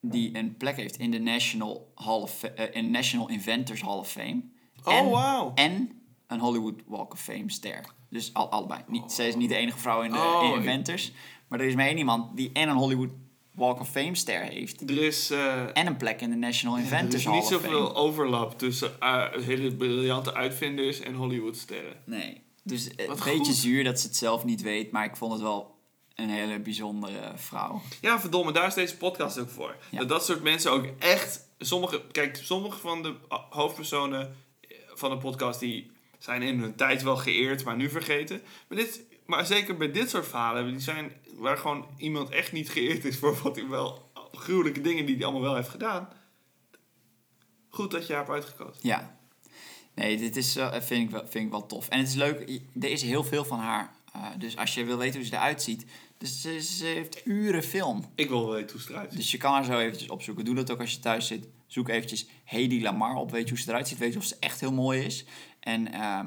Speaker 1: die een plek heeft in de National, Hall of, Fa- eh, in National Inventors Hall of Fame.
Speaker 2: Oh,
Speaker 1: En-
Speaker 2: wauw.
Speaker 1: En een Hollywood Walk of Fame ster. Dus al, allebei. Niet, zij is niet de enige vrouw in de
Speaker 2: Oh,
Speaker 1: in
Speaker 2: ik-
Speaker 1: Inventors. Maar er is maar één iemand die en een Hollywood Walk of Fame ster heeft.
Speaker 2: Er is. eh,
Speaker 1: En een plek in de National
Speaker 2: Er
Speaker 1: Inventors
Speaker 2: is
Speaker 1: Hall
Speaker 2: niet
Speaker 1: of Fame.
Speaker 2: zoveel overlap tussen eh, hele briljante uitvinders en Hollywoodsterren.
Speaker 1: Nee. Dus eh, een
Speaker 2: Wat
Speaker 1: beetje
Speaker 2: goed.
Speaker 1: zuur dat ze het zelf niet weet, maar ik vond het wel een hele bijzondere vrouw.
Speaker 2: Ja, verdomme, daar is deze podcast ook voor.
Speaker 1: Ja.
Speaker 2: Dat dat soort mensen ook echt... Sommige, kijk, sommige van de ah, hoofdpersonen eh, van de podcast... die zijn in hun tijd wel geëerd, maar nu vergeten. Maar, dit, maar zeker bij dit soort verhalen... Die zijn, waar gewoon iemand echt niet geëerd is... voor wat hij wel... gruwelijke dingen die hij allemaal wel heeft gedaan. Goed dat je haar hebt uitgekozen.
Speaker 1: Ja. Nee, dit is, wel- eh, vind, ik wel, vind ik wel tof. En het is leuk, i- er is heel veel van haar. eh, dus als je wil weten hoe ze eruit ziet. Dus ze, ze heeft uren film.
Speaker 2: Ik wil wel weten hoe ze eruit ziet.
Speaker 1: Dus je kan haar zo eventjes opzoeken. Doe dat ook als je thuis zit. Zoek eventjes Hedy Lamar op. Weet je hoe ze eruit ziet. Weet je of ze echt heel mooi is. En, ehm,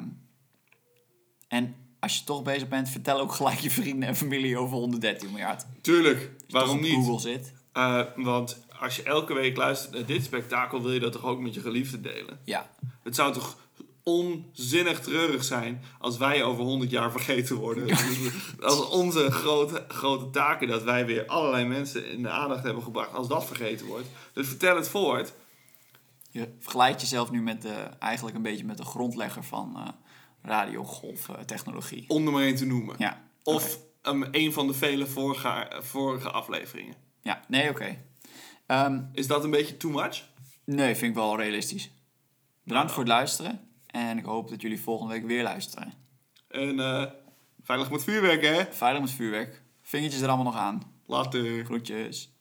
Speaker 1: en als je toch bezig bent, vertel ook gelijk je vrienden en familie over 113 miljard.
Speaker 2: Tuurlijk,
Speaker 1: Als je
Speaker 2: waarom
Speaker 1: toch
Speaker 2: niet?
Speaker 1: dus op Google zit.
Speaker 2: Eh, want als je elke week luistert naar dit spektakel, wil je dat toch ook met je geliefde delen?
Speaker 1: Ja.
Speaker 2: Het zou toch onzinnig treurig zijn als wij over 100 jaar vergeten worden. Dus als onze grote, grote taken dat wij weer allerlei mensen in de aandacht hebben gebracht, als dat vergeten wordt. Dus vertel het voort.
Speaker 1: Je vergelijkt jezelf nu met de, eigenlijk een beetje met de grondlegger van eh radiogolftechnologie.
Speaker 2: Om er maar één te noemen.
Speaker 1: ja.
Speaker 2: Of ehm, een van de vele vorige, vorige afleveringen.
Speaker 1: Ja, nee, oké. Ehm,
Speaker 2: Is dat een beetje too much?
Speaker 1: nee, vind ik wel realistisch. Bedankt voor het luisteren. En ik hoop dat jullie volgende week weer luisteren.
Speaker 2: En eh, veilig met vuurwerk, hè?
Speaker 1: Veilig met vuurwerk. Vingertjes er allemaal nog aan.
Speaker 2: Later.
Speaker 1: Groetjes.